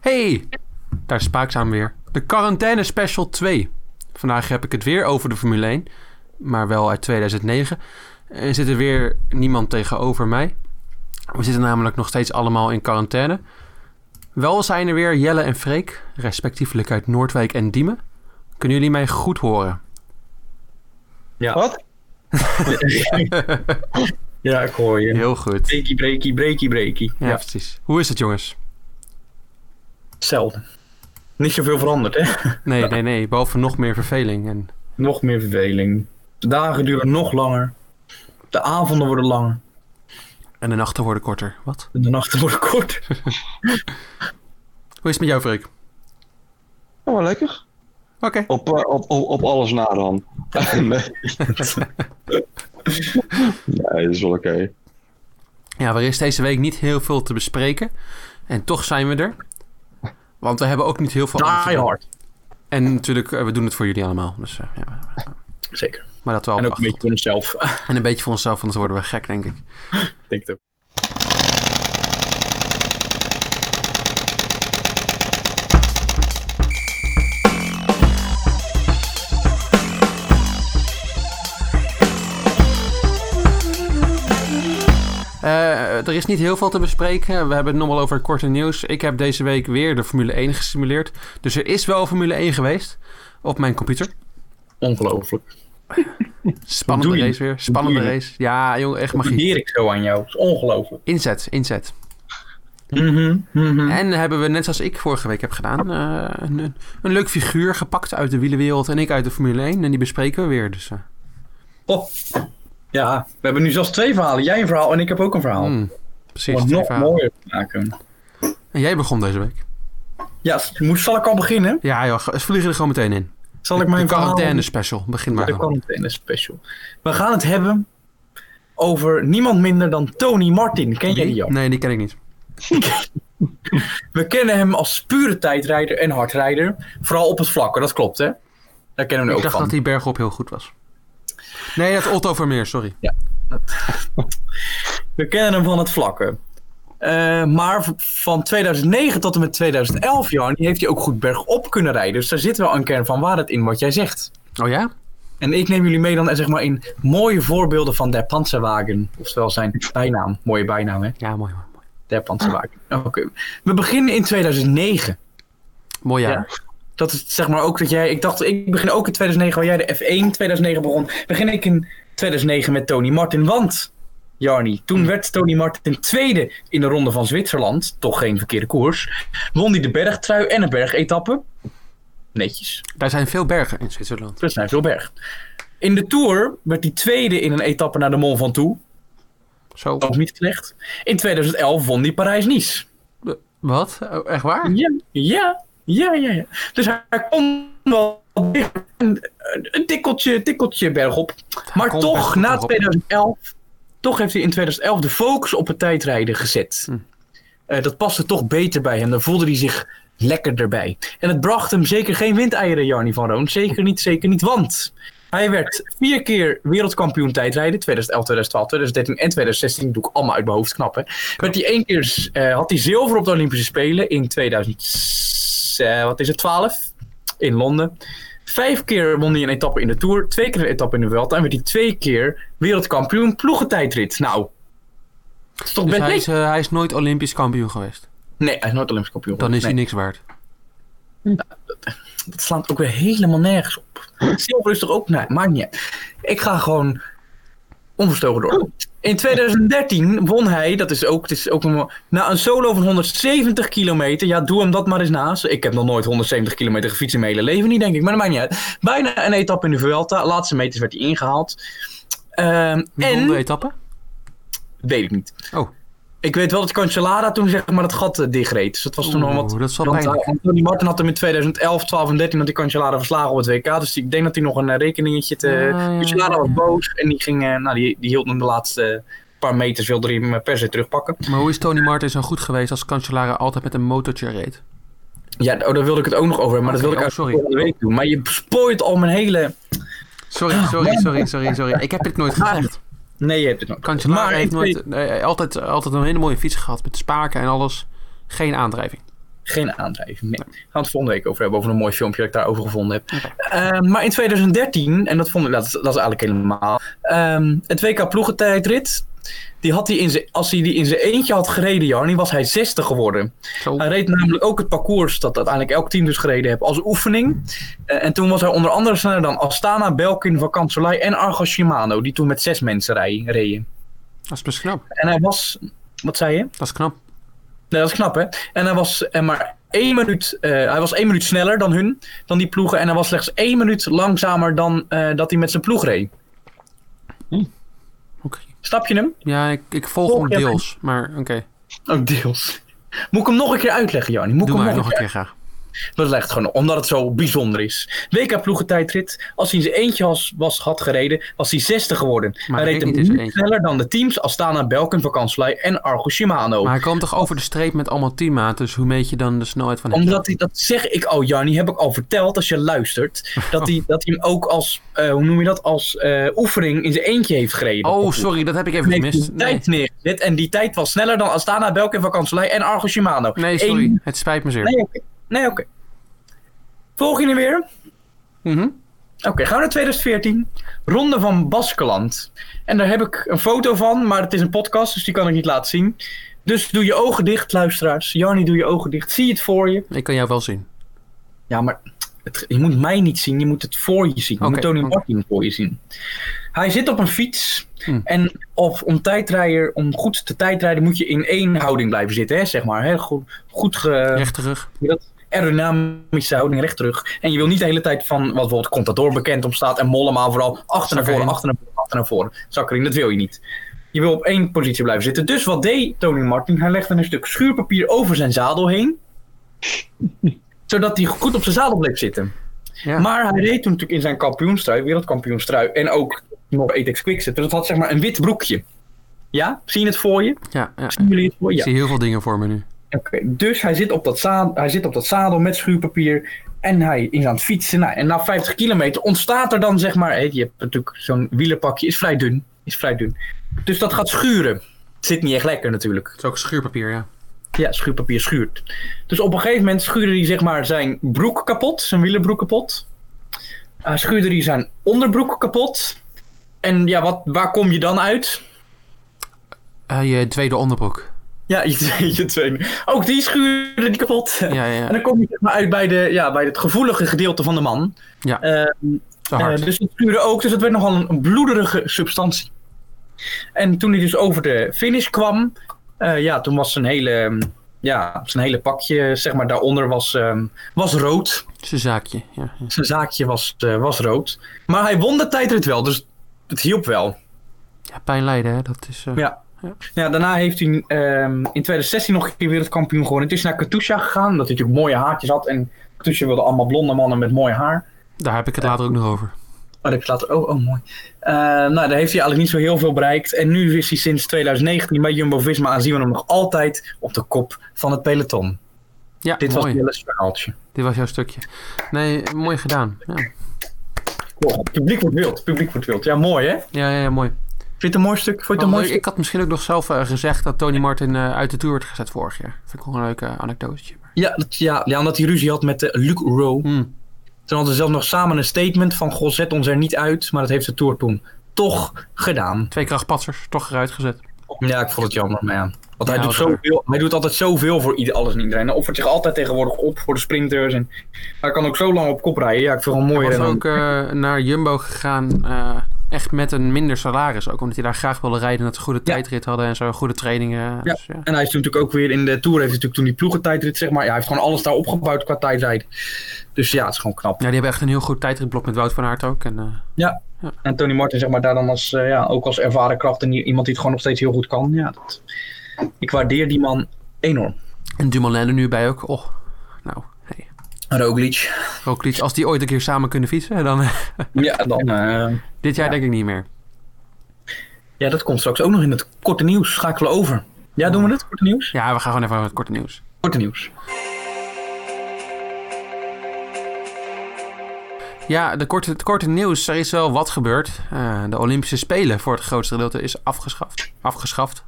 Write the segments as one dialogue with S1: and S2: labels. S1: Hey! Daar is Spaakzaam weer. De Quarantaine Special 2. Vandaag heb ik het weer over de Formule 1, maar wel uit 2009. En zit er weer niemand tegenover mij. We zitten namelijk nog steeds allemaal in quarantaine. Wel zijn er weer Jelle en Freek, respectievelijk uit Noordwijk en Diemen. Kunnen jullie mij goed horen?
S2: Ja.
S3: Wat?
S2: ja, ik hoor je.
S1: Heel goed.
S2: Breaky, breaky, breaky, breaky.
S1: Ja,
S2: Ja,
S1: precies. Hoe is het, jongens?
S2: hetzelfde. Niet zoveel veranderd, hè?
S1: Nee, nee, nee. Behalve nog meer verveling. En
S2: Nog meer verveling. De dagen duren nog langer. De avonden worden langer.
S1: En de nachten worden korter. Wat?
S2: De nachten worden
S1: Oh,
S2: kort.
S1: Hoe is het met jou, Freek?
S3: Oh, wel lekker.
S1: Oké.
S3: Op, eh, op, op, op alles na dan. nee, Nee, dat is wel oké.
S1: Ja, er is deze week niet heel veel te bespreken. En toch zijn we er. Want we hebben ook niet heel veel... anders te
S2: Die
S1: doen.
S2: hard.
S1: En natuurlijk, eh, we doen het voor jullie allemaal. Dus, eh, ja.
S2: Zeker.
S1: Maar dat wel
S2: En
S1: en,
S2: ook een beetje voor onszelf.
S1: en een beetje voor onszelf, anders worden we gek, denk ik.
S2: Ik denk het ook.
S1: Eh, er is niet heel veel te bespreken. We hebben het nog wel over korte nieuws. Ik heb deze week weer de Formule 1 gesimuleerd. Dus er is wel Formule 1 geweest op mijn computer.
S2: Ongelooflijk.
S1: Spannende
S2: Doe je?
S1: race weer. Spannende
S2: Doe je?
S1: race. Ja, jongen, echt
S2: Mag
S1: magie.
S2: Leer ik zo aan jou. Het is ongelooflijk.
S1: Inzet, inzet.
S2: Mhm, mhm.
S1: En hebben we, net zoals ik vorige week heb gedaan, eh, een, een- een leuk figuur gepakt uit de wielenwereld en ik uit de Formule 1. En die bespreken we weer. Dus, eh,
S2: Oh. Ja, we hebben nu zelfs twee verhalen. Jij een verhaal en ik heb ook een verhaal.
S1: hmm,
S2: Om
S1: precies.
S2: het
S1: twee
S2: nog
S1: verhalen.
S2: mooier te maken.
S1: En jij begon deze week.
S2: Ja, moet, zal ik al beginnen?
S1: Ja joh, ze vliegen er gewoon meteen in.
S2: Zal ik mijn
S1: de quarantaine
S2: verhaal...
S1: special. Begin maar
S2: Ja, de
S1: dan.
S2: quarantaine special. We gaan het hebben over niemand minder dan Tony Martin. Ken jij die
S1: Wie?
S2: Jan?
S1: Nee, die ken ik niet.
S2: We kennen hem als pure tijdrijder en hardrijder. Vooral op het vlakke, dat klopt hè? Daar kennen we hem
S1: Ik
S2: ook
S1: dacht
S2: van.
S1: dat die bergop heel goed was. Nee, dat Otto Vermeer, sorry.
S2: We kennen hem van het vlakken. Eh, maar v- van 2009 tot en met 2011, Jan, heeft hij ook goed bergop kunnen rijden. Dus daar zit wel een kern van waarheid in wat jij zegt.
S1: Oh ja?
S2: En ik neem jullie mee dan eh, zeg maar in mooie voorbeelden van Der Panzerwagen. Oftewel zijn bijnaam. Mooie bijnaam hè?
S1: Ja, mooi. mooi, mooi.
S2: Der Panzerwagen. Oké. We beginnen in 2009.
S1: Mooi jaar.
S2: Dat is zeg maar ook dat jij. Ik dacht, ik begin ook in 2009, waar jij de F1 2009 begon. Begin ik in 2009 met Tony Martin. Want, Jarni, toen werd Tony Martin tweede in de ronde van Zwitserland. Toch geen verkeerde koers. Won hij de bergtrui en een bergetappe. Netjes.
S1: Daar zijn veel bergen in Zwitserland.
S2: Dat is nou veel berg. In de Tour werd hij tweede in een etappe naar de Mont Ventoux.
S1: Zo.
S2: Ook niet slecht. In 2011 won hij Parijs-Nice.
S1: Wat? Oh, echt waar?
S2: Ja, ja, ja, ja. ja. Dus hij kon wel een, een tikkeltje, tikkeltje bergop. Maar
S1: kon
S2: toch,
S1: bergop,
S2: na
S1: bergop.
S2: 2011, toch heeft hij in 2011 de focus op het tijdrijden gezet.
S1: Hm.
S2: Eh, dat paste toch beter bij hem. Daar voelde hij zich lekker erbij. En het bracht hem zeker geen windeieren, Jarny van Roon. Zeker niet, zeker niet. Want hij werd vier keer wereldkampioen tijdrijden. 2011, 2012, 2013 en 2016. Doe ik allemaal uit mijn hoofd, knap hè. Werd hij één keer, eh, had hij zilver op de Olympische Spelen in 2000, eh, wat is het, 12? In Londen. Vijf keer won hij een etappe in de Tour. Twee keer een etappe in de Vuelta. En werd hij twee keer wereldkampioen ploegentijdrit. Nou, het is toch
S1: Dus
S2: best
S1: hij
S2: niks.
S1: is, eh, hij is nooit Olympisch kampioen geweest.
S2: Nee, hij is nooit Olympisch kampioen.
S1: Dan is
S2: Nee.
S1: hij niks waard.
S2: Dat slaat ook weer helemaal nergens op. Zilver is toch ook... Nee, maakt niet uit. Ik ga gewoon onverstoken door. In 2013 won hij, dat is ook, het is ook een, na een solo van 170 kilometer. Ja, doe hem dat maar eens naast. Ik heb nog nooit 170 kilometer gefietst in mijn hele leven niet, denk ik. Maar dat maakt niet uit. Bijna een etappe in de Vuelta. Laatste meters werd hij ingehaald. Ehm,
S1: Wie won de
S2: en...
S1: etappe?
S2: Weet ik niet.
S1: Oh.
S2: Ik weet wel dat Cancellara toen zeg maar het gat eh, dichtreed. Dus dat was toen nog wat
S1: Oeh, dat is wel
S2: want
S1: pijnlijk.
S2: uh, Anthony Martin had hem in 2011, 12 en 13 had hij Cancellara verslagen op het WK. Dus ik denk dat hij nog een eh, rekeningetje te...
S1: Ja, ja,
S2: Cancellara
S1: ja,
S2: was
S1: ja.
S2: boos en die, ging, eh, nou, die, die hield hem de laatste paar meters, wilde hij hem eh, per se terugpakken.
S1: Maar hoe is Tony Martin zo goed geweest als Cancellara altijd met een motortje reed?
S2: Ja, oh, daar wilde ik het ook nog over hebben, maar
S1: Oké,
S2: dat wilde ik
S1: oh, sorry.
S2: eigenlijk volgende week doen. Maar je spooit al mijn hele... Ah,
S1: Sorry, sorry, sorry, sorry, sorry. Ik heb dit nooit gezegd.
S2: Nee, je hebt het nog.
S1: Cancellara
S2: Maar
S1: heeft eh,
S2: in
S1: nooit, eh, altijd, altijd een hele mooie fiets gehad met spaken en alles. Geen aandrijving.
S2: Geen aandrijving. Nee. Gaan we het volgende week over hebben. Over een mooi filmpje dat ik daarover gevonden heb. Eh, maar in 2013, en dat vond ik, dat, is- dat is eigenlijk helemaal. ehm, het WK ploegentijdrit. Die had hij in zijn, als hij die in zijn eentje had gereden, Jarni, was hij 60 geworden.
S1: Zo.
S2: Hij reed namelijk ook het parcours dat uiteindelijk elk team dus gereden heeft als oefening. Eh, en toen was hij onder andere sneller dan Astana, Belkin, Van Kanselij en Argo Shimano. Die toen met zes mensen rij- reden.
S1: Dat is best knap.
S2: En hij was, wat zei je?
S1: Dat is knap.
S2: Nee, dat is knap, hè? En hij was eh, maar één minuut, eh, hij was één minuut sneller dan hun, dan die ploegen. En hij was slechts één minuut langzamer dan eh, dat hij met zijn ploeg reed.
S1: Oké.
S2: Snap je hem?
S1: Ja, ik, ik volg
S2: Volg
S1: hem
S2: je hem?
S1: deels. Maar oké,
S2: Ook deels. Moet ik hem nog een keer uitleggen, Jarni? Moet ik
S1: Oh, doe
S2: hem
S1: maar
S2: nog een
S1: nog
S2: keer
S1: een keer graag.
S2: Dat legt gewoon omdat het zo bijzonder is. WK ploegentijdrit. Als hij in zijn eentje was, was, had gereden, was hij 60 geworden.
S1: Maar
S2: hij
S1: hij reed
S2: reed hem
S1: niet in zijn
S2: niet
S1: eentje.
S2: sneller dan de teams Astana, Belkin, Van Kanselij en Argo Shimano.
S1: Maar hij kwam toch over de streep met allemaal teammaat, dus hoe meet je dan de snelheid van hem?
S2: Omdat hij, dat zeg ik al, Jarni, heb ik al verteld als je luistert. Dat hij, dat hij hem ook als, eh, hoe noem je dat, als eh, oefening in zijn eentje heeft gereden.
S1: Oh, sorry, dat heb ik even
S2: Hij heeft
S1: gemist.
S2: een
S1: Nee,
S2: tijd neergezet en die tijd was sneller dan Astana, Belkin, Van Kanselij en Argo Shimano.
S1: nee
S2: Eén-
S1: sorry, het spijt me zeer.
S2: Nee, oké. Nee, oké. Volg je nu weer?
S1: Mhm.
S2: Oké, gaan we naar 2014. Ronde van Baskeland. En daar heb ik een foto van, maar het is een podcast, dus die kan ik niet laten zien. Dus doe je ogen dicht, luisteraars. Jarni, doe je ogen dicht. Zie het voor je.
S1: Ik kan jou wel zien.
S2: Ja, maar het, je moet mij niet zien, je moet het voor je zien. Je
S1: Oké,
S2: moet Tony
S1: oké.
S2: Martin voor je zien. Hij zit op een fiets.
S1: Hm.
S2: En of om, tijdrijder, om goed te tijdrijden moet je in één houding blijven zitten, hè, zeg maar. Hè? Goed, goed ge,
S1: Rechterrug.
S2: hoe dat? aerodynamische houding recht terug. En je wil niet de hele tijd van wat bijvoorbeeld Contador bekend om staat en Mollema vooral achter naar voren,
S1: Zakkerin.
S2: achter naar voren, achter naar voren. Zakkerin, dat wil je niet. Je wil op één positie blijven zitten. Dus wat deed Tony Martin? Hij legde een stuk schuurpapier over zijn zadel heen. zodat hij goed op zijn zadel bleef zitten.
S1: Ja.
S2: Maar hij reed toen natuurlijk in zijn kampioenstrui, wereldkampioenstrui. En ook nog ATX Quickset. Dus het had zeg maar een wit broekje. Ja? Zien het voor je?
S1: Ja, ja.
S2: Zien jullie het voor je?
S1: Ik
S2: Ja.
S1: zie heel veel dingen voor me nu.
S2: Oké, dus hij zit, op dat zadel, hij zit op dat zadel met schuurpapier en hij is aan het fietsen. Nou, en na 50 kilometer ontstaat er dan zeg maar, hè, je hebt natuurlijk zo'n wielerpakje, is vrij dun, is vrij dun. Dus dat gaat schuren. Het zit niet echt lekker natuurlijk.
S1: Het is ook schuurpapier, ja.
S2: Ja, schuurpapier schuurt. Dus op een gegeven moment schuurde hij zeg maar zijn broek kapot, zijn wielerbroek kapot. Hij schuurde hij zijn onderbroek kapot. En ja, wat, waar kom je dan uit?
S1: Eh, je tweede onderbroek.
S2: Ja, je, je twee. Ook die schuurde die kapot.
S1: Ja,
S2: En
S1: ja.
S2: dan kom je zeg maar uit bij, de, ja, bij het gevoelige gedeelte van de man.
S1: Ja.
S2: Eh,
S1: Zo hard.
S2: eh, dus het schuurde ook, dus het werd nogal een bloederige substantie. En toen hij dus over de finish kwam, eh, ja, toen was zijn hele, mm, ja, zijn hele pakje, zeg maar, daaronder was, ehm, was rood.
S1: Het is een zaakje. Ja, ja.
S2: Zijn zaakje was, eh, was rood. Maar hij won de tijdrit wel, dus het hielp wel.
S1: ja pijn lijden, hè. Dat is... eh,
S2: Ja. Ja, daarna heeft hij ehm, in 2016 nog een keer wereldkampioen gewonnen. Het is naar Katusha gegaan, omdat hij natuurlijk mooie haartjes had. En Katusha wilde allemaal blonde mannen met mooi haar.
S1: Daar heb ik het later ook nog over.
S2: Oh, dat heb je later. Oh, oh mooi. Eh, nou, daar heeft hij eigenlijk niet zo heel veel bereikt. En nu is hij sinds 2019 bij Jumbo Visma. En zien we hem nog altijd op de kop van het peloton.
S1: Ja,
S2: Dit was
S1: mooi.
S2: wel eens verhaaltje.
S1: Dit was jouw stukje. Nee, mooi gedaan. Ja,
S2: Oh, het publiek wordt wild. het Publiek wordt wild. Ja, mooi hè? Vind
S1: ja, ja, ja mooi.
S2: je het een mooi stuk? Vond je het een
S1: Maar
S2: mooi
S1: ik
S2: stuk?
S1: had misschien ook nog zelf eh, gezegd dat Tony Martin eh, uit de Tour werd gezet vorig jaar. Vind ik wel een leuke anekdotetje. Maar-
S2: Ja, dat, ja, ja, omdat hij ruzie had met eh, Luc Rowe.
S1: Hmm.
S2: Toen hadden ze zelf nog samen een statement van... Goh, zet ons er niet uit. Maar dat heeft de Tour toen toch gedaan.
S1: Twee krachtpatsers, toch eruit gezet.
S2: Ja, ik vond het jammer, maar ja. Want hij,
S1: Ja,
S2: doet
S1: wat leuk.
S2: zoveel, hij doet altijd zoveel voor ieder, alles en iedereen. Hij offert zich altijd tegenwoordig op voor de sprinters. En hij kan ook zo lang op kop rijden. Ja, ik vind het wel mooi.
S1: Hij was
S2: rennen.
S1: ook eh, naar Jumbo gegaan, eh, echt met een minder salaris. Ook omdat hij daar graag wilde rijden, dat ze goede tijdrit hadden en zo, goede trainingen.
S2: Ja.
S1: Dus, ja.
S2: En hij is toen natuurlijk ook weer in de Tour. Heeft natuurlijk toen die ploegentijdrit, zeg maar. Ja, hij heeft gewoon alles daar opgebouwd qua tijdrijd. Dus ja, het is gewoon knap.
S1: Ja, die hebben echt een heel goed tijdritblok met Wout van Aert ook. En, eh,
S2: En Tony Martin, zeg maar, daar dan als, eh, ja, ook als ervaren kracht. En i- iemand die het gewoon nog steeds heel goed kan. Ja, dat, ik waardeer die man enorm.
S1: en Dumoulin er nu bij ook. Oh, nou, hey.
S2: Roglic.
S1: Roglic, als die ooit een keer samen kunnen fietsen, dan eh,
S2: Ja, dan... eh,
S1: dit jaar
S2: Ja.
S1: denk ik niet meer.
S2: ja, dat komt straks ook nog in het korte nieuws. Schakelen over. Ja, doen we het? Korte nieuws?
S1: Ja, we gaan gewoon even naar het korte nieuws.
S2: Korte nieuws.
S1: Ja, de korte, het korte nieuws, er is wel wat gebeurd. Eh, de Olympische Spelen voor het grootste gedeelte is afgeschaft. Afgeschaft.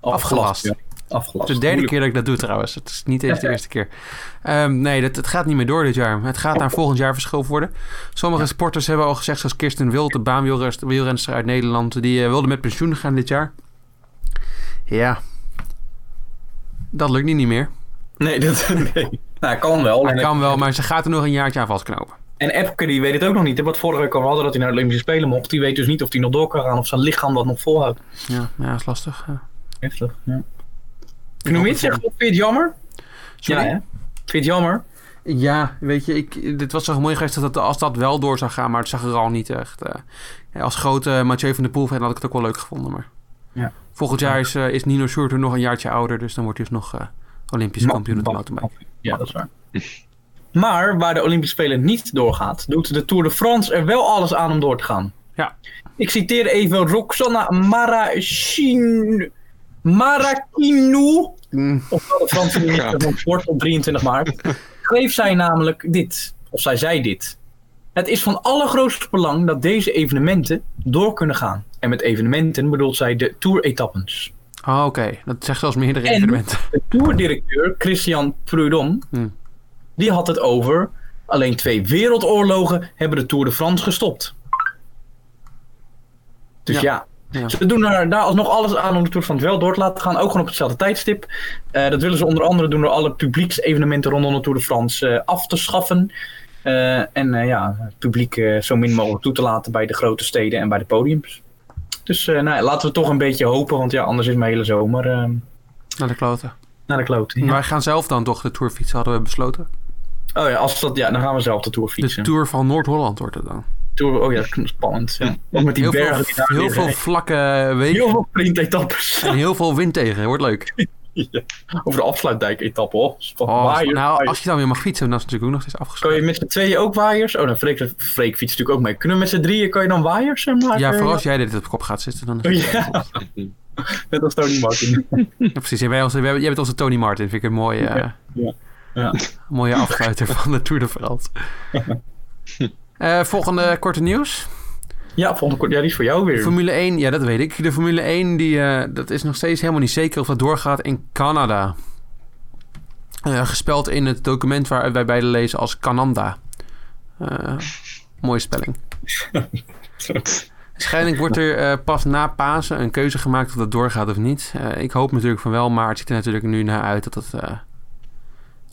S1: Afgelast.
S2: ja.
S1: Het
S2: afgelast.
S1: is de derde keer dat ik dat doe trouwens. Het is niet eens de eerste keer. Ehm, nee, dat, het gaat niet meer door dit jaar. Het gaat naar volgend jaar verschoven worden. Sommige sporters hebben al gezegd, zoals Kirsten Wild, de baanwielrenster wielrenster uit Nederland, die eh, wilde met pensioen gaan dit jaar. Ja, dat lukt niet, niet meer.
S2: Nee, dat nee. Nou, kan wel.
S1: Hij
S2: En,
S1: kan wel, maar ze gaat er nog een jaartje aan vastknopen.
S2: en Epke die weet het ook nog niet. hè, Wat vorige week al hadden dat hij naar de Olympische Spelen mocht. Die weet dus niet of hij nog door kan gaan of zijn lichaam dat nog volhoudt.
S1: Ja, ja dat is lastig. Ja.
S2: Heftig. Ja. Knoemit zegt, vind je het jammer?
S1: Sorry?
S2: Ja, hè? Vind je het jammer?
S1: Ja, weet je, ik, dit was zo mooi geweest dat het- als dat wel door zou gaan, maar het zag er al niet echt. eh, ja, als grote Mathieu van der Poel fan had ik het ook wel leuk gevonden, maar...
S2: Ja.
S1: Volgend jaar is, eh, is Nino Schurter nog een jaartje ouder, dus dan wordt hij dus nog eh, Olympisch kampioen op de mountainbike.
S2: Ja, dat is waar. Maar waar de Olympische Spelen niet doorgaat, doet de Tour de France er wel alles aan om door te gaan.
S1: Ja.
S2: Ik citeer even Roxana Marachin... Marakinou, of wel de Franse minister van Sport op 23 maart, schreef zij namelijk dit. Of zij zei dit. Het is van allergrootste belang dat deze evenementen door kunnen gaan. En met evenementen bedoelt zij de Tour-etappes.
S1: Ah, oké. Dat zegt zelfs meerdere
S2: En-
S1: evenementen.
S2: de toerdirecteur Christian Prudhomme,
S1: Hmm.
S2: die had het over alleen twee wereldoorlogen hebben de Tour de France gestopt. Dus
S1: Ja.
S2: ja,
S1: Ja.
S2: ze doen er daar alsnog alles aan om de Tour de France wel door te laten gaan, ook gewoon op hetzelfde tijdstip. Eh, dat willen ze onder andere doen door alle publieksevenementen rondom de Tour de France eh, af te schaffen. Eh, en eh, ja, het publiek eh, zo min mogelijk toe te laten bij de grote steden en bij de podiums. Dus eh, nou, ja, laten we toch een beetje hopen, want ja, anders is mijn hele zomer eh,
S1: Naar de kloten.
S2: naar de klote. Ja.
S1: Wij gaan zelf dan toch de Tour fietsen, hadden we besloten.
S2: Oh ja, als dat, ja, dan gaan we zelf de Tour
S1: De
S2: fietsen.
S1: Tour van Noord-Holland wordt het dan.
S2: Tour, oh ja, dat is spannend. Ja. Ook met die
S1: Heel veel,
S2: bergen die daar
S1: heel
S2: liggen.
S1: veel vlakke wegen
S2: heel veel sprintetappes.
S1: en heel veel wind tegen. Wordt leuk.
S2: Over de afsluitdijk-etappe, hoor. Spannend.
S1: Oh,
S2: Waaiers,
S1: nou,
S2: waaiers.
S1: als je dan weer mag fietsen, dan is het natuurlijk ook nog steeds
S2: Kan
S1: afgesloten.
S2: je met z'n tweeën ook waaiers? Oh, dan Freek, Freek fietst natuurlijk ook mee. Kunnen we met z'n drieën, kan je dan waaiers eh, maken?
S1: Ja, vooral als jij dit op kop gaat zitten, dan is het-
S2: Oh, ja. Net als Tony Martin.
S1: Ja, precies. Jij bent, onze, jij bent onze Tony Martin. Vind ik een mooie, eh,
S2: ja, ja.
S1: mooie afsluiter van de Tour de France. Eh, volgende korte nieuws.
S2: Ja, volgende kort. Ja, die is voor jou weer.
S1: Formule 1, ja dat weet ik. De Formule 1, die, eh, dat is nog steeds helemaal niet zeker of dat doorgaat in Canada. Eh, gespeld in het document waar wij beide lezen als Canada. Eh, mooie spelling. Waarschijnlijk wordt er eh, pas na Pasen een keuze gemaakt of dat doorgaat of niet. Eh, ik hoop natuurlijk van wel, maar het ziet er natuurlijk nu naar uit dat dat, eh,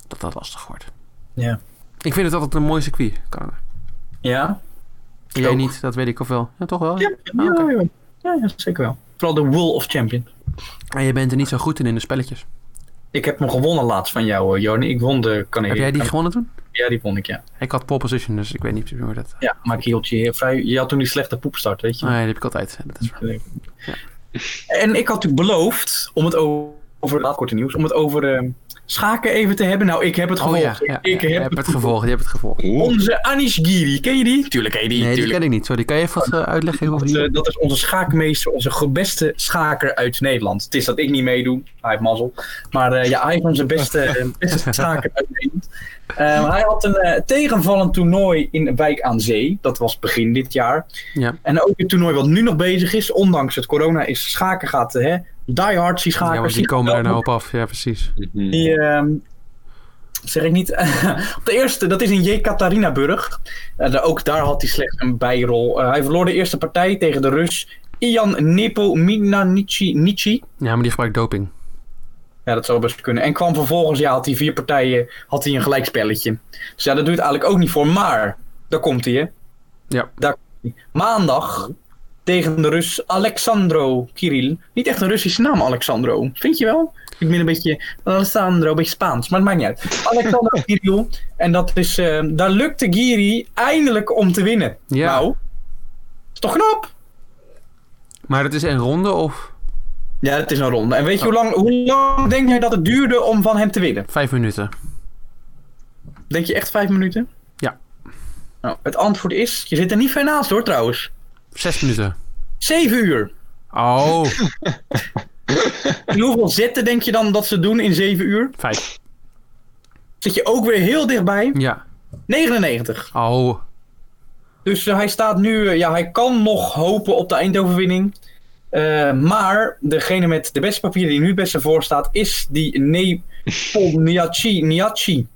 S1: dat, dat lastig wordt.
S2: Ja.
S1: Ik vind het altijd een mooi circuit, Canada.
S2: Ja?
S1: Jij
S2: Ook.
S1: niet, dat weet ik of wel. Ja, toch wel?
S2: Ja, ja,
S1: oké.
S2: ja, ja, ja, zeker wel. Vooral de Wool of Champion.
S1: En je bent er niet zo goed in in de spelletjes.
S2: Ik heb hem gewonnen laatst van jou, hoor, Jorni. Ik won de
S1: Heb
S2: Canadian.
S1: jij die gewonnen toen?
S2: Ja, die won ik, ja.
S1: Ik had pole position, dus ik weet niet precies hoe dat...
S2: Ja, maar ik hield je heel vrij. Je had toen die slechte poepstart, weet je.
S1: Nee, dat heb ik altijd. Dat is waar.
S2: En ik had u beloofd om het over, over laat korte nieuws, om het over ehm, schaken even te hebben. Nou, ik heb het
S1: Oh
S2: gevolgd.
S1: ja, ja, ja,
S2: ik
S1: je
S2: heb
S1: hebt het
S2: gevolgd.
S1: gevolgd. Je hebt het gevolgd.
S3: Oeh,
S2: Onze Anish Giri, ken je die? Tuurlijk ken je die.
S1: Nee, die
S2: tuurlijk.
S1: ken ik niet. Sorry, kan je even wat eh, uitleggen? hoe
S2: Dat,
S1: die-
S2: eh, dat is onze schaakmeester, onze ge- beste schaker uit Nederland. Het is dat ik niet meedoe, hij heeft mazzel. Maar eh, ja, hij is onze beste, eh, beste schaker uit Nederland. Ehm, hij had een eh, tegenvallend toernooi in Wijk aan Zee. Dat was begin dit jaar.
S1: Ja.
S2: En ook het toernooi wat nu nog bezig is, ondanks het corona, is schaken gaat... eh, Hè, die hard, die schakers...
S1: Ja, want die komen er nou op af. Ja, precies.
S3: mhm.
S2: Die, ehm, zeg ik niet. Op de eerste, dat is in Jekaterinaburg. Eh, daar- ook daar had hij slechts een bijrol. Eh, hij verloor de eerste partij tegen de Rus Ian Nepominanici. Nici.
S1: Ja, maar die gebruikt doping.
S2: Ja, dat zou best kunnen. En kwam vervolgens, ja, had hij vier partijen, had hij een gelijkspelletje. Dus ja, dat doet het eigenlijk ook niet voor. Maar, daar komt hij, hè.
S1: Ja.
S2: Daar komt hij. Maandag tegen de Rus Alexandro Kirill. Niet echt een Russische naam, Alexandro. Vind je wel? Ik ben een beetje Alessandro, een beetje Spaans, maar het maakt niet uit. Alexandro Kirill. En dat is, eh, daar lukte Giri eindelijk om te winnen.
S1: Ja.
S2: Nou, is toch knap?
S1: Maar dat is een ronde of
S2: Ja, het is een ronde. En weet je hoe lang, hoe lang denk jij dat het duurde om van hem te winnen?
S1: vijf minuten.
S2: Denk je echt vijf minuten?
S1: Ja.
S2: Nou, het antwoord is, je zit er niet ver naast hoor trouwens.
S1: Zes minuten.
S2: Zeven uur.
S1: Oh,
S2: En hoeveel zetten denk je dan dat ze doen in zeven uur?
S1: vijf.
S2: Zit je ook weer heel dichtbij.
S1: Ja.
S2: 99.
S1: Oh,
S2: Dus eh, hij staat nu, eh, ja hij kan nog hopen op de eindoverwinning. Eh, maar degene met de beste papieren die nu het beste voor staat, is die Nepomniachtchi. Niachi.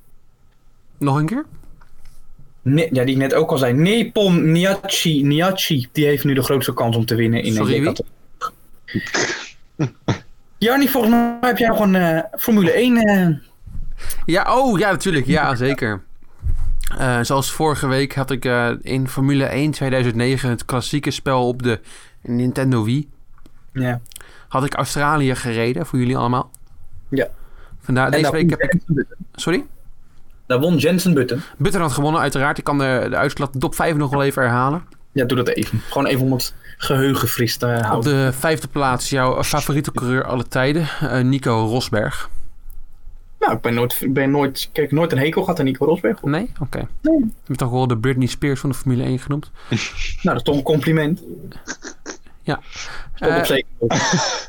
S1: Nog een keer?
S2: Ne- ja, die ik net ook al zei. Nepomniachtchi. Niachi. Die heeft nu de grootste kans om te winnen in
S1: Sorry,
S2: een
S1: wie?
S2: decathlon. Jarni, volgens mij heb jij nog een eh, Formule 1. eh,
S1: Ja, oh ja, natuurlijk. Ja, zeker. Eh, zoals vorige week had ik eh, in Formule 1 2009 het klassieke spel op de Nintendo Wii.
S2: ja.
S1: Had ik Australië gereden voor jullie allemaal.
S2: Ja.
S1: Vandaar,
S2: En nou,
S1: deze
S2: daar
S1: week
S2: won
S1: heb ik...
S2: Jensen Button.
S1: Sorry?
S2: Daar won Jensen Button.
S1: Butter had gewonnen, uiteraard. Ik kan de, de uitslag de top 5 nog wel even herhalen.
S2: Ja, doe dat even. Gewoon even om het geheugen fris te houden.
S1: Op de vijfde plaats jouw favoriete coureur alle tijden, eh, Nico Rosberg.
S2: Nou, ik ben nooit, ik ben nooit, kijk, nooit een hekel gehad aan Nico Rosberg.
S1: Nee? Oké.
S2: Nee.
S1: Je hebt toch wel de Britney Spears van de Formule 1 genoemd?
S2: Nou, dat is toch een compliment. Stond
S1: Eh,
S2: op zeker.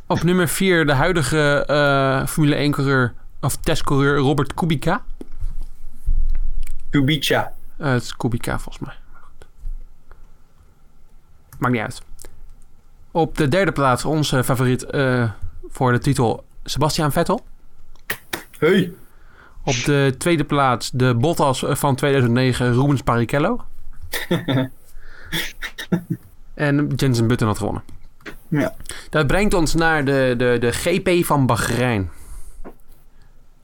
S1: Op nummer 4 de huidige eh, Formule 1-coureur, of testcoureur Robert Kubica.
S2: Kubica.
S1: Eh, het is Kubica volgens mij. Maar goed. Maakt niet uit. Op de derde plaats onze favoriet eh, voor de titel Sebastian Vettel.
S2: Hey.
S1: Op de tweede plaats de Bottas van 2009 Rubens Barrichello. en Jensen Button had gewonnen.
S2: Ja.
S1: Dat brengt ons naar de, de, de GP van Bahrein.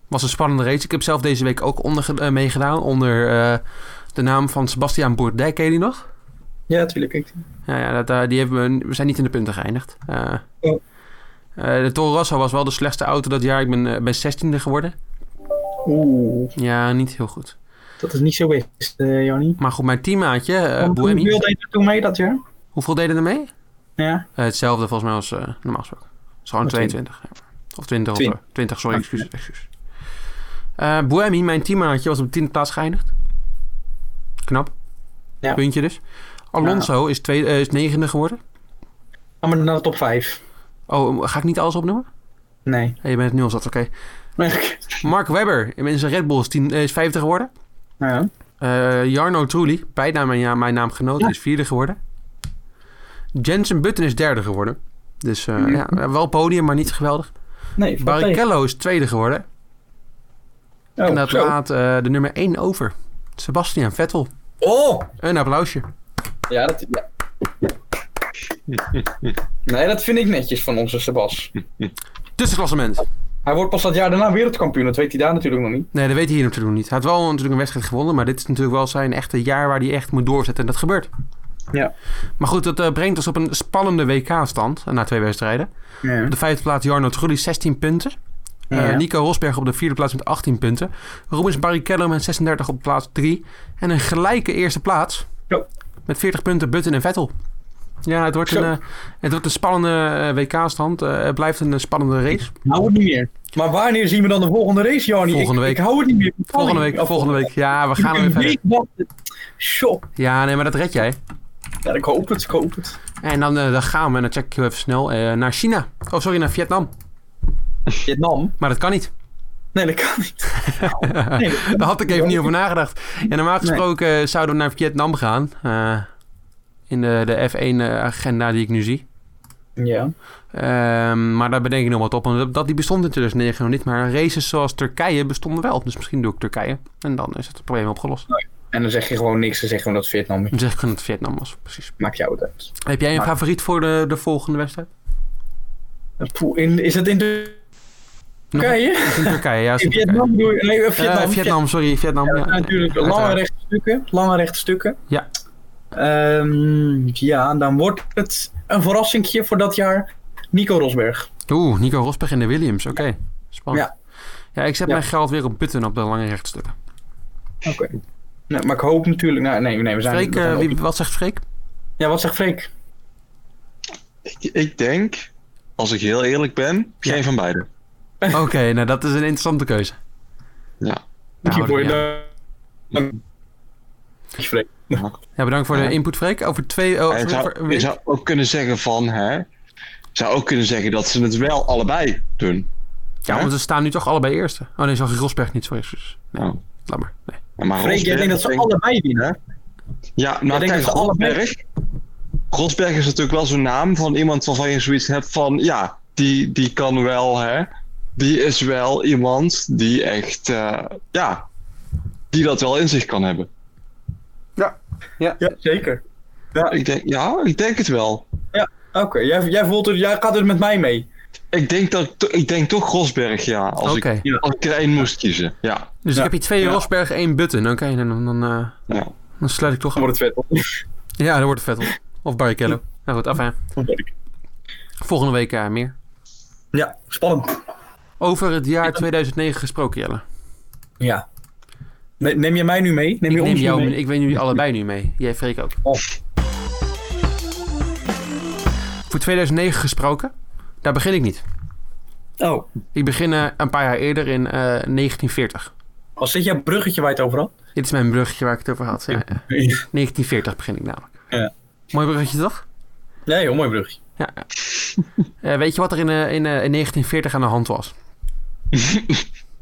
S1: Was een spannende race. Ik heb zelf deze week ook onder, eh, meegedaan onder eh, de naam van Sebastian Bourdais. Ken je die nog?
S2: Ja, natuurlijk. Ik-
S1: Ja, ja dat, eh, die hebben we, we zijn niet in de punten geëindigd. Eh,
S2: Oh.
S1: eh, de Toro Rosso was wel de slechtste auto dat jaar. Ik ben, eh, ben 16e geworden.
S2: Oeh,
S1: Ja, niet heel goed.
S2: dat is niet zo best, eh Jannie.
S1: Maar goed, mijn teammaatje, eh
S2: Want
S1: Boemi,
S2: Hoeveel deed er toen mee dat jaar?
S1: hoeveel deden er mee?
S2: Ja.
S1: Eh, hetzelfde volgens mij als eh, normaal gesproken. Het is gewoon
S2: Oh,
S1: 22. ja. Of 20, of
S2: Twin-
S1: eh, 20, sorry,
S2: Oh,
S1: excuus. excuus. Eh Boemi, mijn teammaatje, was op 10e plaats geëindigd. Knap.
S2: Ja.
S1: Puntje dus. Alonso is, tweede, eh, is negende geworden.
S2: Gaan we naar de top 5?
S1: Oh, ga ik niet alles opnoemen?
S2: Nee. Nou
S1: Eh, je bent het nu al zat, oké. Mark Webber in zijn Red Bull is, 10, eh, is vijfde geworden.
S2: ja.
S1: Eh, Jarno Trulli, bijna mijn, ja, mijn naamgenoot,
S2: Ja.
S1: is vierde geworden. Jensen Button is derde geworden. Dus eh,
S2: Mhm.
S1: ja, wel podium, maar niet geweldig.
S2: Nee, valt tegen.
S1: Barrichello is tweede geworden.
S2: Oh,
S1: en dat
S2: zo.
S1: laat eh, de nummer één over. Sebastian Vettel.
S2: Oh!
S1: Een applausje.
S2: Ja, dat... ja. Nee, dat vind ik netjes van onze Sebas.
S1: Tussenklassement.
S2: Hij wordt pas dat jaar daarna wereldkampioen. Dat weet hij daar natuurlijk nog niet.
S1: Nee, dat weet hij hier natuurlijk niet. Hij had wel natuurlijk een wedstrijd gewonnen, maar dit is natuurlijk wel zijn echte jaar waar hij echt moet doorzetten. En dat gebeurt.
S2: Ja.
S1: Maar goed, dat eh, brengt ons op een spannende WK-stand na twee wedstrijden.
S2: Ja.
S1: Op de vijfde plaats Jarno Trulli, 16 punten. Eh, Nico Rosberg op de vierde plaats met 18 punten. Rubens Barrichello met 36 op plaats 3. En een gelijke eerste plaats.
S2: Zo.
S1: Met 40 punten Button en Vettel. Ja, het wordt
S2: Zo.
S1: een, eh, het wordt een spannende eh, WK-stand. Eh, het blijft een eh, spannende race.
S2: hou het niet meer. Maar wanneer zien we dan de volgende race, Jarnie?
S1: Volgende
S2: Ik-
S1: week.
S2: Ik hou het niet meer.
S1: Volgende week,
S2: oh.
S1: volgende week. Ja, we gaan er weer verder.
S2: Shop.
S1: Ja, nee, maar dat red jij.
S2: Ja, ik hoop het, ik hoop het.
S1: En dan, eh, dan gaan we, en dan check ik heel even snel, eh, naar China. Oh, sorry, naar Vietnam.
S2: Vietnam?
S1: Maar dat kan niet.
S2: Nee, dat kan niet. Nee, dat kan
S1: Daar had ik even niet over nagedacht. Ja, normaal gesproken eh, zouden we naar Vietnam gaan. eh, in de, de F1-agenda die ik nu zie.
S2: niet. Ja.
S1: Ehm, maar daar bedenk ik nog wat op. want dat- dat die bestond in 2009 nog niet. Maar races zoals Turkije bestonden wel. Dus misschien doe ik Turkije. En dan is het probleem opgelost.
S2: En dan zeg je gewoon niks, dan zeg je gewoon dat het Vietnam is.
S1: Dan zeg ik dat het Vietnam was. Precies.
S2: Maakt jou het uit.
S1: Heb jij een
S2: Maar-
S1: favoriet voor de, de volgende wedstrijd?
S2: Poeh, in- is dat in de...
S1: Nog-
S2: Turkije?
S1: In Turkije, ja. is
S2: In
S1: in
S2: Vietnam
S1: Turkije.
S2: bedoel je? Nee, eh,
S1: Eh, Vietnam,
S2: Vietnam.
S1: sorry. Vietnam.
S2: Ja,
S1: Ja,
S2: dat zijn natuurlijk lange
S1: uiteraard.
S2: rechte stukken. Lange rechte stukken.
S1: Ja.
S2: Ehm, ja, dan wordt het een verrassingje voor dat jaar. Nico Rosberg.
S1: Oeh, Nico Rosberg en de Williams. Oké. Spannend. Ja.
S2: Ja.
S1: ik zet
S2: Ja.
S1: mijn geld weer op Button op de lange rechtstukken.
S2: Oké. Nou, maar ik hoop natuurlijk... Nou, nee, nee, we zijn...
S1: Freek,
S2: we zijn
S1: eh,
S2: ook-
S1: wie, wat zegt Freek?
S2: Ja, wat zegt Freek?
S3: Ik, ik denk, als ik heel eerlijk ben, geen van beide.
S1: Oké, nou dat is een interessante keuze.
S3: Ja.
S1: Nou,
S2: Dank je voor
S1: ja.
S2: je... Dank je, Freek.
S1: Ja, bedankt voor
S3: Ja.
S1: de input, Freek. Over twee... Oh,
S3: En ik
S1: sorry,
S3: zou,
S1: voor-
S3: ik zou ook kunnen zeggen van, hè, ik zou ook kunnen zeggen dat ze het wel allebei doen.
S1: Ja, want ze staan nu toch allebei eerste. Oh nee, zag ik Rosberg niet, sorry. excuus. Nee,
S3: Oh.
S1: laat maar. Nee.
S3: Ja, Maar
S2: Freek, jij
S3: Rosberg,
S2: denkt dat
S3: ik
S2: ze
S3: denk-
S2: allebei winnen? Jij
S3: Ja, nou
S2: denkt dat
S3: kijk,
S2: ze allebei-
S3: Rosberg, Rosberg is natuurlijk wel zo'n naam van iemand waarvan je zoiets hebt van, ja, die, die kan wel, hè. Die is wel iemand die echt, eh, ja, die dat wel in zich kan hebben.
S2: Ja, zeker.
S3: Ik denk, ja, ik denk het wel.
S2: Oké, jij, jij, voelt het, jij gaat er met mij mee.
S3: Ik denk, dat, ik denk toch Rosberg, ja. Als,
S1: Oké.
S3: ik, als ik er één moest kiezen, ja.
S1: Dus
S2: Ja.
S1: ik heb hier twee
S2: Ja.
S1: Rosberg, één Button. Oké, dan, dan, dan, eh,
S3: ja.
S1: dan sluit ik toch
S2: Dan
S1: aan.
S2: wordt het vet.
S1: Ja, dan wordt het Vettel. Of Barrichello. Nou goed, afijn. Volgende week eh, meer.
S2: Ja, spannend.
S1: Over het jaar 2009 gesproken, Jelle.
S2: Ja. Ne- Neem je mij nu mee? Neem je
S1: Ik
S2: ons
S1: neem
S2: nu
S1: jou,
S2: mee?
S1: ik neem jullie allebei nu mee. Jij Freek ook.
S2: Oh.
S1: Voor 2009 gesproken, daar begin ik niet.
S2: Oh,
S1: Ik begin eh, een paar jaar eerder in eh, 1940.
S2: als zit jouw bruggetje waar je het over had?
S1: Dit is mijn bruggetje waar ik het over had. Ja, ja. 1940 begin ik namelijk.
S2: Ja.
S1: Mooi bruggetje toch?
S2: Nee, heel mooi bruggetje.
S1: Ja. ja. Eh, weet je wat er in, eh, in, eh, in 1940 aan de hand was?
S2: Eh,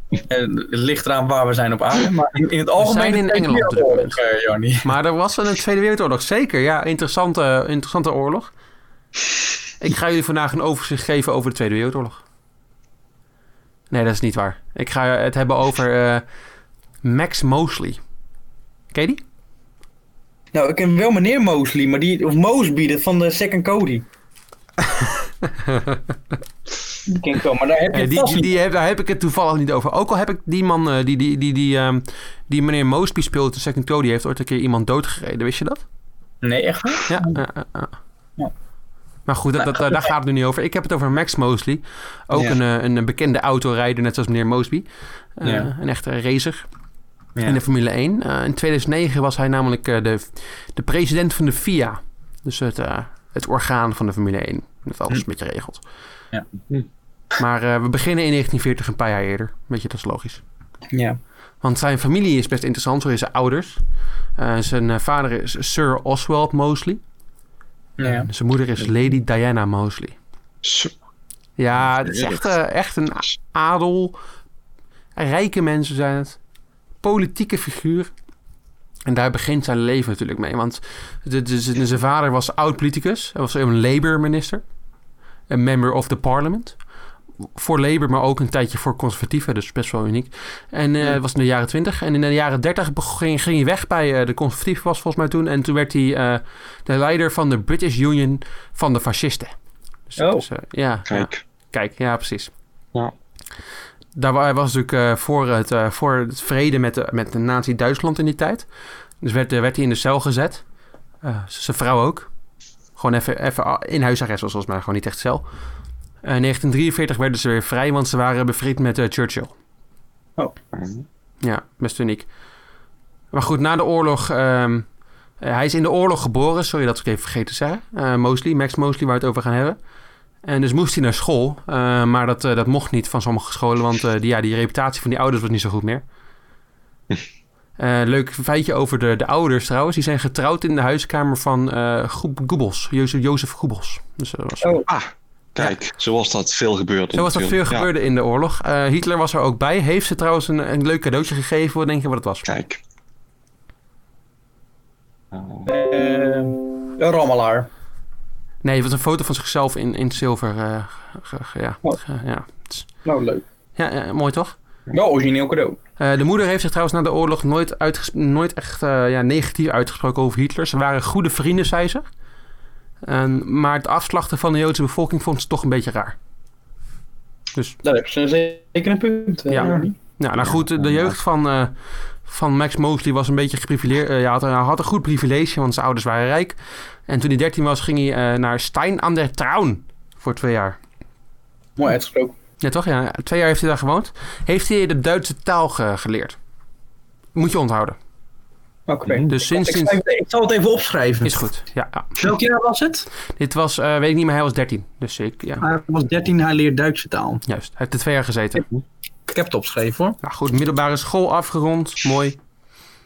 S2: Het ligt eraan waar we zijn op aarde, maar in, in het algemeen...
S1: zijn in
S2: is het
S1: Engeland
S2: een
S1: op dit moment.
S2: wereldoorlog, eh, Jarnie.
S1: Maar er was wel een Tweede Wereldoorlog, zeker. Ja, interessante, interessante oorlog. Ik ga jullie vandaag een overzicht geven over de Tweede Wereldoorlog. Nee, dat is niet waar. Ik ga het hebben over eh, Max Mosley. Ken je die?
S2: Nou, ik ken wel meneer Mosley, maar die, of Mosby, dat van de Second Cody. die ken ik wel, maar daar heb je
S1: Eh,
S2: het
S1: die,
S2: vast
S1: die,
S2: niet.
S1: die heb, daar heb ik het toevallig niet over. Ook al heb ik die man, eh, die, die, die, die, ehm, die meneer Mosby speelt, de second toe, die heeft ooit een keer iemand doodgereden. Wist je dat?
S2: Nee, echt niet?
S1: Ja. eh, eh, eh.
S2: Ja.
S1: Maar goed, dat, dat, eh, daar gaat het nu niet over. Ik heb het over Max Mosley. Ook
S3: Ja.
S1: een, eh, een bekende autorijder, net zoals meneer Mosby. Eh,
S2: Ja.
S1: Een echte racer
S2: Ja.
S1: in de Formule 1. Eh, in 2009 was hij namelijk eh, de, de president van de FIA. Dus het, eh, het orgaan van de Formule 1. Dat alles een beetje regelt.
S2: Ja.
S3: Hm.
S1: Maar eh, we beginnen in 1940, een paar jaar eerder. Weet je, dat is logisch.
S2: Ja.
S1: Want zijn familie is best interessant, zo is zijn ouders. Eh, zijn eh, vader is Sir Oswald Mosley.
S2: Ja.
S1: En zijn moeder is Lady Diana Mosley.
S3: Zo.
S1: Ja, het is echt, eh, echt een a- adel. Rijke mensen zijn het. Politieke figuur. En daar begint zijn leven natuurlijk mee. Want de, de- z- zijn vader was oud-politicus. Hij was een Labour-minister. Een member of the parliament. Voor Labour, maar ook een tijdje voor conservatieven. Dus best wel uniek. En eh,
S2: Ja.
S1: het was in de jaren 20. En in de jaren 30 ging, ging hij weg bij eh, de conservatieven was volgens mij toen. En toen werd hij eh, de leider van de British Union van de fascisten. Dus dat
S2: Oh.
S1: is, eh, ja, ja.
S3: Kijk.
S1: Kijk, ja, precies.
S3: Ja.
S1: Daar wa- was natuurlijk eh, voor, het, eh, voor het vrede met, de- met de Nazi-Duitsland in die tijd. Dus werd, eh, werd hij in de cel gezet. Eh, z- zijn vrouw ook. Gewoon even, even a- in huisarrest was volgens mij gewoon niet echt cel. Eh, In 1943 werden ze weer vrij, want ze waren bevriend met eh, Churchill. Ja, best uniek. Maar goed, na de oorlog. ehm, eh, hij is in de oorlog geboren, sorry dat ik het even vergeten te zeggen. Eh, Mosley, Max Mosley, waar we het over gaan hebben. En dus moest hij naar school, eh, maar dat, eh, dat mocht niet van sommige scholen, want eh, die, ja, die reputatie van die ouders was niet zo goed meer. Eh, leuk feitje over de, de ouders trouwens. Die zijn getrouwd in de huiskamer van eh Goe- Goebbels, Jozef, Jozef Goebbels. Dus dat was
S2: Oh.
S3: Ah, kijk, zoals dat veel gebeurt.
S1: zo was dat veel
S3: natuurlijk. Ja,
S1: gebeurde in de oorlog. Eh, Hitler was er ook bij. Heeft ze trouwens een, een leuk cadeautje gegeven? Wat denk je wat het was?
S3: Kijk. Nou,
S2: Eh, een rammelaar.
S1: Nee, het was een foto van zichzelf in, in het zilver. eh, ge- ge- ja.
S2: Oh.
S1: Ge- ja.
S2: Nou, leuk.
S1: Ja, ja, mooi toch?
S2: Wel origineel cadeau.
S1: Eh, de moeder heeft zich trouwens na de oorlog nooit, uitges- nooit echt eh, ja, negatief uitgesproken over Hitler. Ze waren goede vrienden, zei ze. En- maar het afslachten van de Joodse bevolking vond ze toch een beetje raar.
S2: Daar heb ze zeker een punt. eh,
S1: Ja.
S2: Jarnie.
S1: Nou, nou goed, de jeugd van, eh, van Max Mosley was een beetje geprivileerd. eh, ja, had, hij had een goed privilege, want zijn ouders waren rijk. En toen hij 13 was, ging hij eh, naar Stein aan der Traun voor twee jaar.
S2: Mooi uitgesproken.
S1: Ja, toch? Ja. Twee jaar heeft hij daar gewoond. Heeft hij de Duitse taal ge- geleerd? Moet je onthouden.
S2: Oké.
S1: Dus
S2: Ik,
S1: sinds.
S2: schrijf- ik zal het even opschrijven.
S1: Is goed. Ja, ja.
S2: Welk jaar was het?
S1: Dit was, eh, weet ik niet, maar hij was 13. Dus ik, ja,
S2: Hij was 13, hij leert Duitse taal.
S1: juist. Hij heeft er twee jaar gezeten.
S2: Ik heb het opgeschreven hoor.
S1: Nou goed, middelbare school afgerond. Mooi.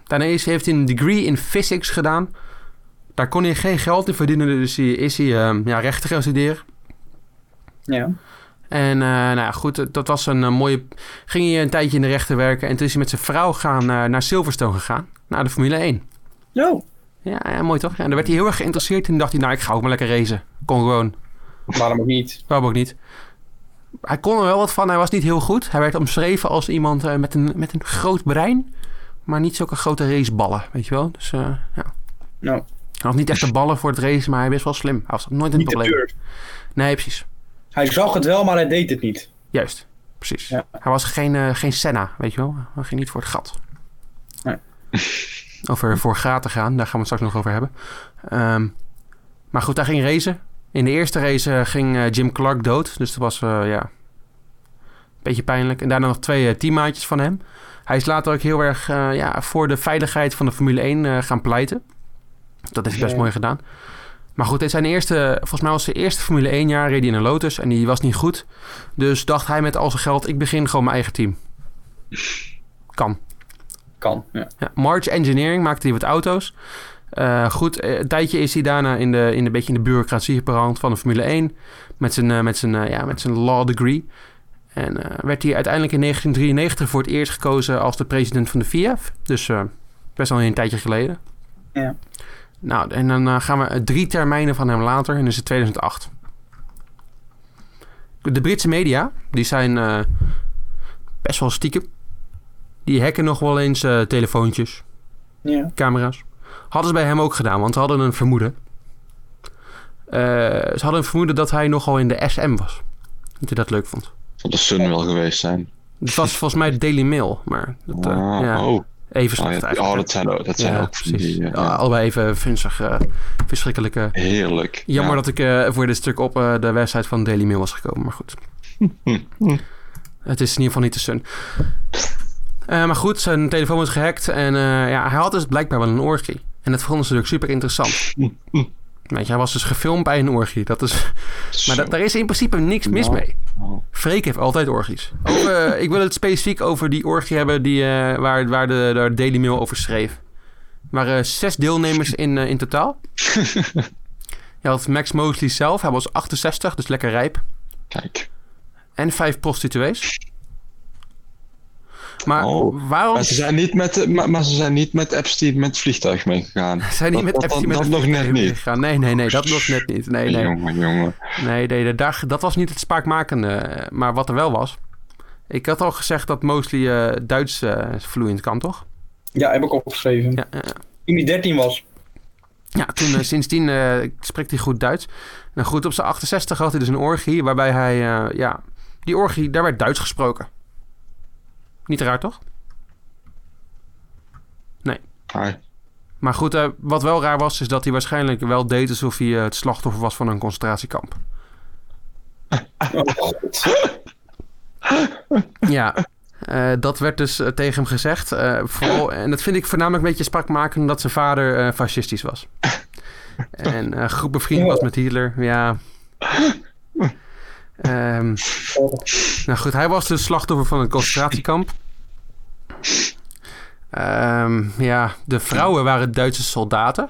S1: Daarna is- heeft hij een degree in physics gedaan. Daar kon hij geen geld in verdienen, dus hij, is hij ehm, ja, rechten gaan studeren.
S2: Ja.
S1: En eh, nou ja, goed, eh, dat was een eh, mooie... Ging hij een tijdje in de rechten werken en toen is hij met zijn vrouw gaan, eh, naar Silverstone gegaan. Naar de Formule 1.
S2: Zo.
S1: Ja, ja, mooi toch? Ja, en daar werd hij heel erg geïnteresseerd in. dacht hij, nou, ik ga ook maar lekker racen. Kon gewoon.
S2: Waarom ook niet?
S1: Waarom ook niet? Hij kon er wel wat van. Hij was niet heel goed. Hij werd omschreven als iemand eh, met, een, met een groot brein. Maar niet zulke grote raceballen, weet je wel? Dus eh, ja.
S2: Nou,
S1: Hij had niet echt de ballen voor het racen, maar hij was wel slim. Hij was nooit een
S2: niet te
S1: probleem.
S2: durf.
S1: Nee, precies.
S2: Hij zag het wel, maar hij deed het niet.
S1: Juist. Precies.
S2: Ja.
S1: Hij was geen, eh, geen Senna, weet je wel? Hij ging niet voor het gat.
S2: Nee.
S1: Over voor gaten gaan, daar gaan we het straks nog over hebben. Ehm, maar goed, hij ging racen. In de eerste race eh, ging eh, Jim Clark dood. Dus dat was, eh, ja, een beetje pijnlijk. En daarna nog twee eh, teammaatjes van hem. Hij is later ook heel erg eh, ja, voor de veiligheid van de Formule 1 eh, gaan pleiten. Dat heeft hij best
S2: Ja.
S1: mooi gedaan. Maar goed, dit zijn eerste, volgens mij was zijn eerste Formule 1 jaar, reed hij in een Lotus en die was niet goed. Dus dacht hij met al zijn geld, ik begin gewoon mijn eigen team. Kan.
S2: Kan. Ja.
S1: Ja, March Engineering maakte hij wat auto's. Eh, goed, eh, een tijdje is hij daarna in de, in een beetje in de bureaucratie gebrand van de Formule 1. Met zijn, eh, met zijn, eh, ja, met zijn law degree. En eh, werd hij uiteindelijk in 1993 voor het eerst gekozen als de president van de FIA. Dus eh, best al een tijdje geleden.
S2: Ja.
S1: Nou, en dan eh, gaan we eh, drie termijnen van hem later en dan is het 2008. De Britse media, die zijn eh, best wel stiekem. Die hacken nog wel eens eh, telefoontjes
S2: Ja.
S1: camera's. Hadden ze bij hem ook gedaan, want ze hadden een vermoeden. Eh, ze hadden een vermoeden dat hij nogal in de SM was. Dat hij dat leuk vond.
S3: Zal de Sun wel geweest zijn.
S1: Het was volgens mij Daily Mail, maar dat, eh,
S3: Ah,
S1: ja,
S3: oh.
S1: even
S3: Oh,
S1: slecht
S3: ja,
S1: eigenlijk.
S3: oh, dat zijn ook, dat zijn
S1: ja,
S3: ook van
S1: precies.
S3: die, eh,
S1: Ja, allebei even vunzig, eh, verschrikkelijke...
S3: Heerlijk.
S1: Jammer
S3: ja.
S1: dat ik eh, voor dit stuk op eh, de website van Daily Mail was gekomen, maar goed. Het is in ieder geval niet de Sun. Eh, maar goed, zijn telefoon was gehackt en eh, ja, hij had dus blijkbaar wel een orgie. En dat vonden ze natuurlijk super interessant. Weet je, hij was dus gefilmd bij een orgie. Dat is, maar
S3: Zo.
S1: da- daar is in principe niks mis
S3: Nou.
S1: mee.
S3: Nou.
S1: Freek heeft altijd orgies. Ook, eh, ik wil het specifiek over die orgie hebben die, eh, waar, waar de, daar Daily Mail over schreef. Er waren zes deelnemers in, eh, in totaal. Je had Max Mosley zelf, hij was 68, dus lekker rijp.
S3: Kijk.
S1: En vijf prostituees. Maar
S3: Oh,
S1: waarom
S3: Maar ze, zijn niet met, de- maar, maar ze zijn niet met Epstein met het vliegtuig meegegaan.
S1: zijn die
S3: dat-
S1: met
S3: dat-
S1: Epstein met
S3: dat
S1: een
S3: nog net
S1: vliegtuig
S3: niet.
S1: meegegaan? Nee, nee, nee, dat nog net niet. Nee, nee,
S3: Jongen, jongen.
S1: nee, nee, nee daar, dat was niet het spaakmakende. eh, Maar wat er wel was. Ik had al gezegd dat Mosley eh Duits eh vloeiend kan, toch?
S2: ja, heb ik opgeschreven.
S1: Ja, ja, ja.
S2: Toen hij 13 was.
S1: Ja, toen, eh, sindsdien eh, spreekt hij goed Duits. Nou goed, op zijn 68 had hij dus een orgie waarbij hij, eh, ja, die orgie, daar werd Duits gesproken. Niet raar, toch?
S3: Hi.
S1: Maar goed, eh, wat wel raar was, is dat hij waarschijnlijk wel deed alsof hij eh, het slachtoffer was van een concentratiekamp.
S2: Oh, God.
S1: Ja, eh, dat werd dus eh, tegen hem gezegd. eh, vooral, en dat vind ik voornamelijk een beetje sprakmakend omdat zijn vader eh, fascistisch was. En eh goed bevriend was met Hitler, ja. Ehm, nou goed, hij was dus slachtoffer van een concentratiekamp. Ehm, ja, de vrouwen waren Duitse soldaten.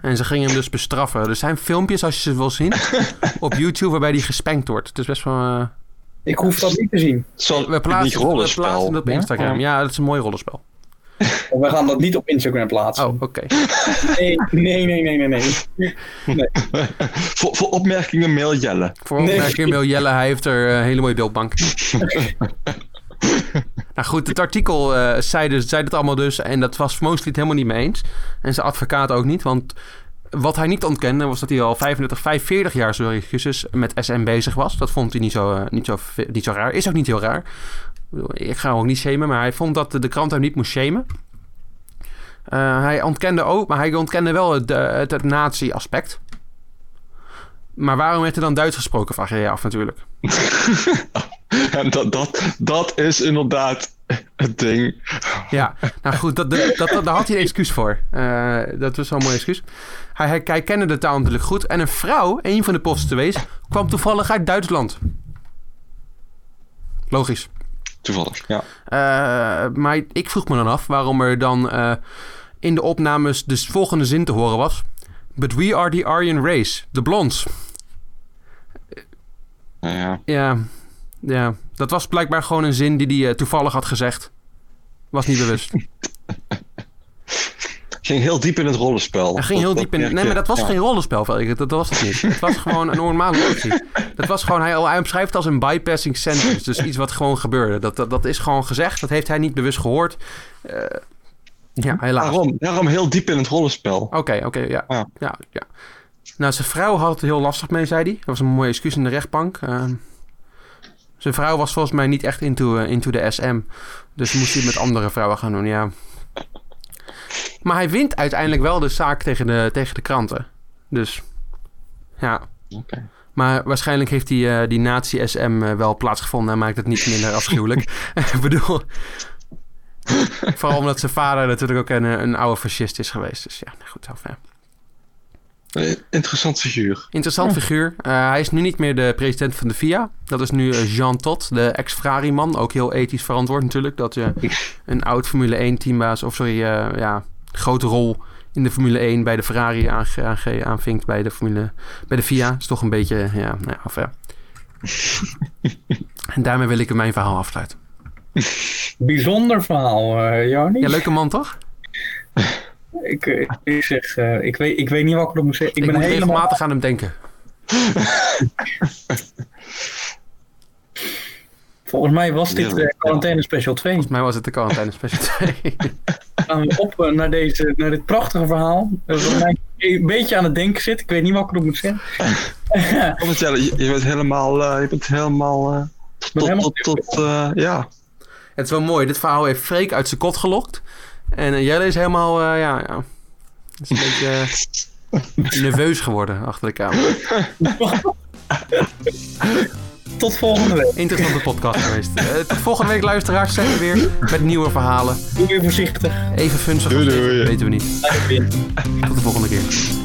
S1: En ze gingen hem dus bestraffen. Er zijn filmpjes, als je ze wil zien, op YouTube waarbij hij gespenkt wordt. Het is best wel... eh,
S2: Ik hoef dat niet te zien.
S3: Zal,
S1: Oh, we plaatsen,
S3: die
S1: we
S3: rollenspel,
S1: plaatsen dat op
S3: hè?
S1: Instagram.
S3: Ja.
S1: Ja, dat is een mooi rollenspel.
S2: We gaan dat niet op Instagram plaatsen.
S1: Oh, oké.
S2: Nee, nee, nee, nee, nee. nee.
S3: voor, voor opmerkingen mail jellen.
S1: Voor
S2: Nee.
S1: opmerking wil Jelle, hij heeft er eh, een hele mooie beeldbank. nou goed, het artikel eh, zei, dus, zei dat allemaal dus. En dat was Mosley het helemaal niet mee eens. En zijn advocaat ook niet. Want wat hij niet ontkende was dat hij al 35, 45 jaar, sorry, excuses, met SM bezig was. Dat vond hij niet zo, eh, niet zo, ve- niet zo raar. Is ook niet heel raar. Ik bedoel, Ik ga hem ook niet shamen, maar hij vond dat de- de krant hem niet moest shamen. Eh, hij ontkende ook, maar hij ontkende wel het, eh, het, het nazi-aspect. Maar waarom werd er dan Duits gesproken? Vraag je je af natuurlijk.
S3: En dat, dat, dat is inderdaad het ding.
S1: Ja, nou goed, dat, dat, dat, daar had hij een excuus voor. Eh, dat was wel een mooi excuus. Hij, hij, hij kende de taal natuurlijk goed. En een vrouw, een van de prostituees, kwam toevallig uit Duitsland. Logisch.
S3: Toevallig, ja.
S1: Eh, maar ik vroeg me dan af waarom er dan eh, in de opnames de volgende zin te horen was. But we are the Aryan race, the blondes.
S3: Ja, ja.
S1: Ja, ja, dat was blijkbaar gewoon een zin die hij eh, toevallig had gezegd. Was niet bewust.
S3: ging heel diep in het rollenspel.
S1: Hij ging heel diep in. Nee, maar dat was
S3: ja.
S1: geen rollenspel, Velke. Dat was het niet. Het was gewoon een normale actie. Dat was gewoon, hij, hij omschrijft het als een bypassing sentence. Dus iets wat gewoon gebeurde. Dat, dat, dat is gewoon gezegd. Dat heeft hij niet bewust gehoord. Eh, ja, helaas. Oké,
S3: Daarom, daarom heel diep in het rollenspel.
S1: oké, ja.
S3: Ja.
S1: Ja, ja. Nou, zijn vrouw had het heel lastig mee, zei hij. Dat was een mooie excuus in de rechtbank. Ehm, zijn vrouw was volgens mij niet echt into, eh, into de SM. Dus moest hij het met andere vrouwen gaan doen, ja. Maar hij wint uiteindelijk wel de zaak tegen de, tegen de kranten. Dus, ja.
S3: Oké.
S1: Maar waarschijnlijk heeft die, eh, die nazi-SM eh, wel plaatsgevonden en maakt het niet minder afschuwelijk. Ik bedoel... Vooral omdat zijn vader natuurlijk ook een, eh, een oude fascist is geweest. Dus ja, goed, zelf, ja.
S3: Een Eh, Interessant figuur.
S1: Interessant
S2: Hm.
S1: figuur. Eh, hij is nu niet meer de president van de FIA. Dat is nu eh, Jean Todt, de ex-Ferrari-man. Ook heel ethisch verantwoord natuurlijk. Dat je een oud Formule 1-teambaas... of sorry, eh, ja, grote rol in de Formule 1 bij de Ferrari aange- aange- aanvinkt... bij de, Formule, bij de FIA. is toch een beetje, ja, nou ja, of ja. en daarmee wil ik mijn verhaal afsluiten.
S2: Bijzonder verhaal, eh Jarni.
S1: Ja, leuke man toch?
S2: Ik, eh, ik zeg, eh, ik, weet, ik weet niet wat ik erop moet zeggen. Ik,
S1: Ik,
S2: ben
S1: moet
S2: helemaal...
S1: regelmatig aan hem denken.
S2: Volgens mij was dit
S3: Ja.
S2: eh, Quarantaine Special 2.
S1: Volgens mij was het de quarantaine special 2.
S2: gaan we op eh, naar, deze, naar dit prachtige verhaal. eh, Wat mij een beetje aan het denken zit. Ik weet niet wat ik erop moet zeggen.
S3: Oh, want jij- je, je bent helemaal. eh, je bent helemaal. eh, tot,
S2: helemaal-
S3: tot, tot, eh, ja.
S1: Het is wel mooi. Dit verhaal heeft Freek uit zijn kot gelokt. En eh, Jelle is helemaal, eh, ja, ja. Is een beetje eh, nerveus geworden achter de kamer.
S2: Tot volgende week.
S1: Interessante podcast geweest. Eh, tot volgende week, luisteraars, zijn we weer met nieuwe verhalen.
S2: Doe weer voorzichtig.
S1: Even funzig.
S3: Doei,
S1: of niet,
S3: doei.
S1: Weten we niet. Tot de volgende keer.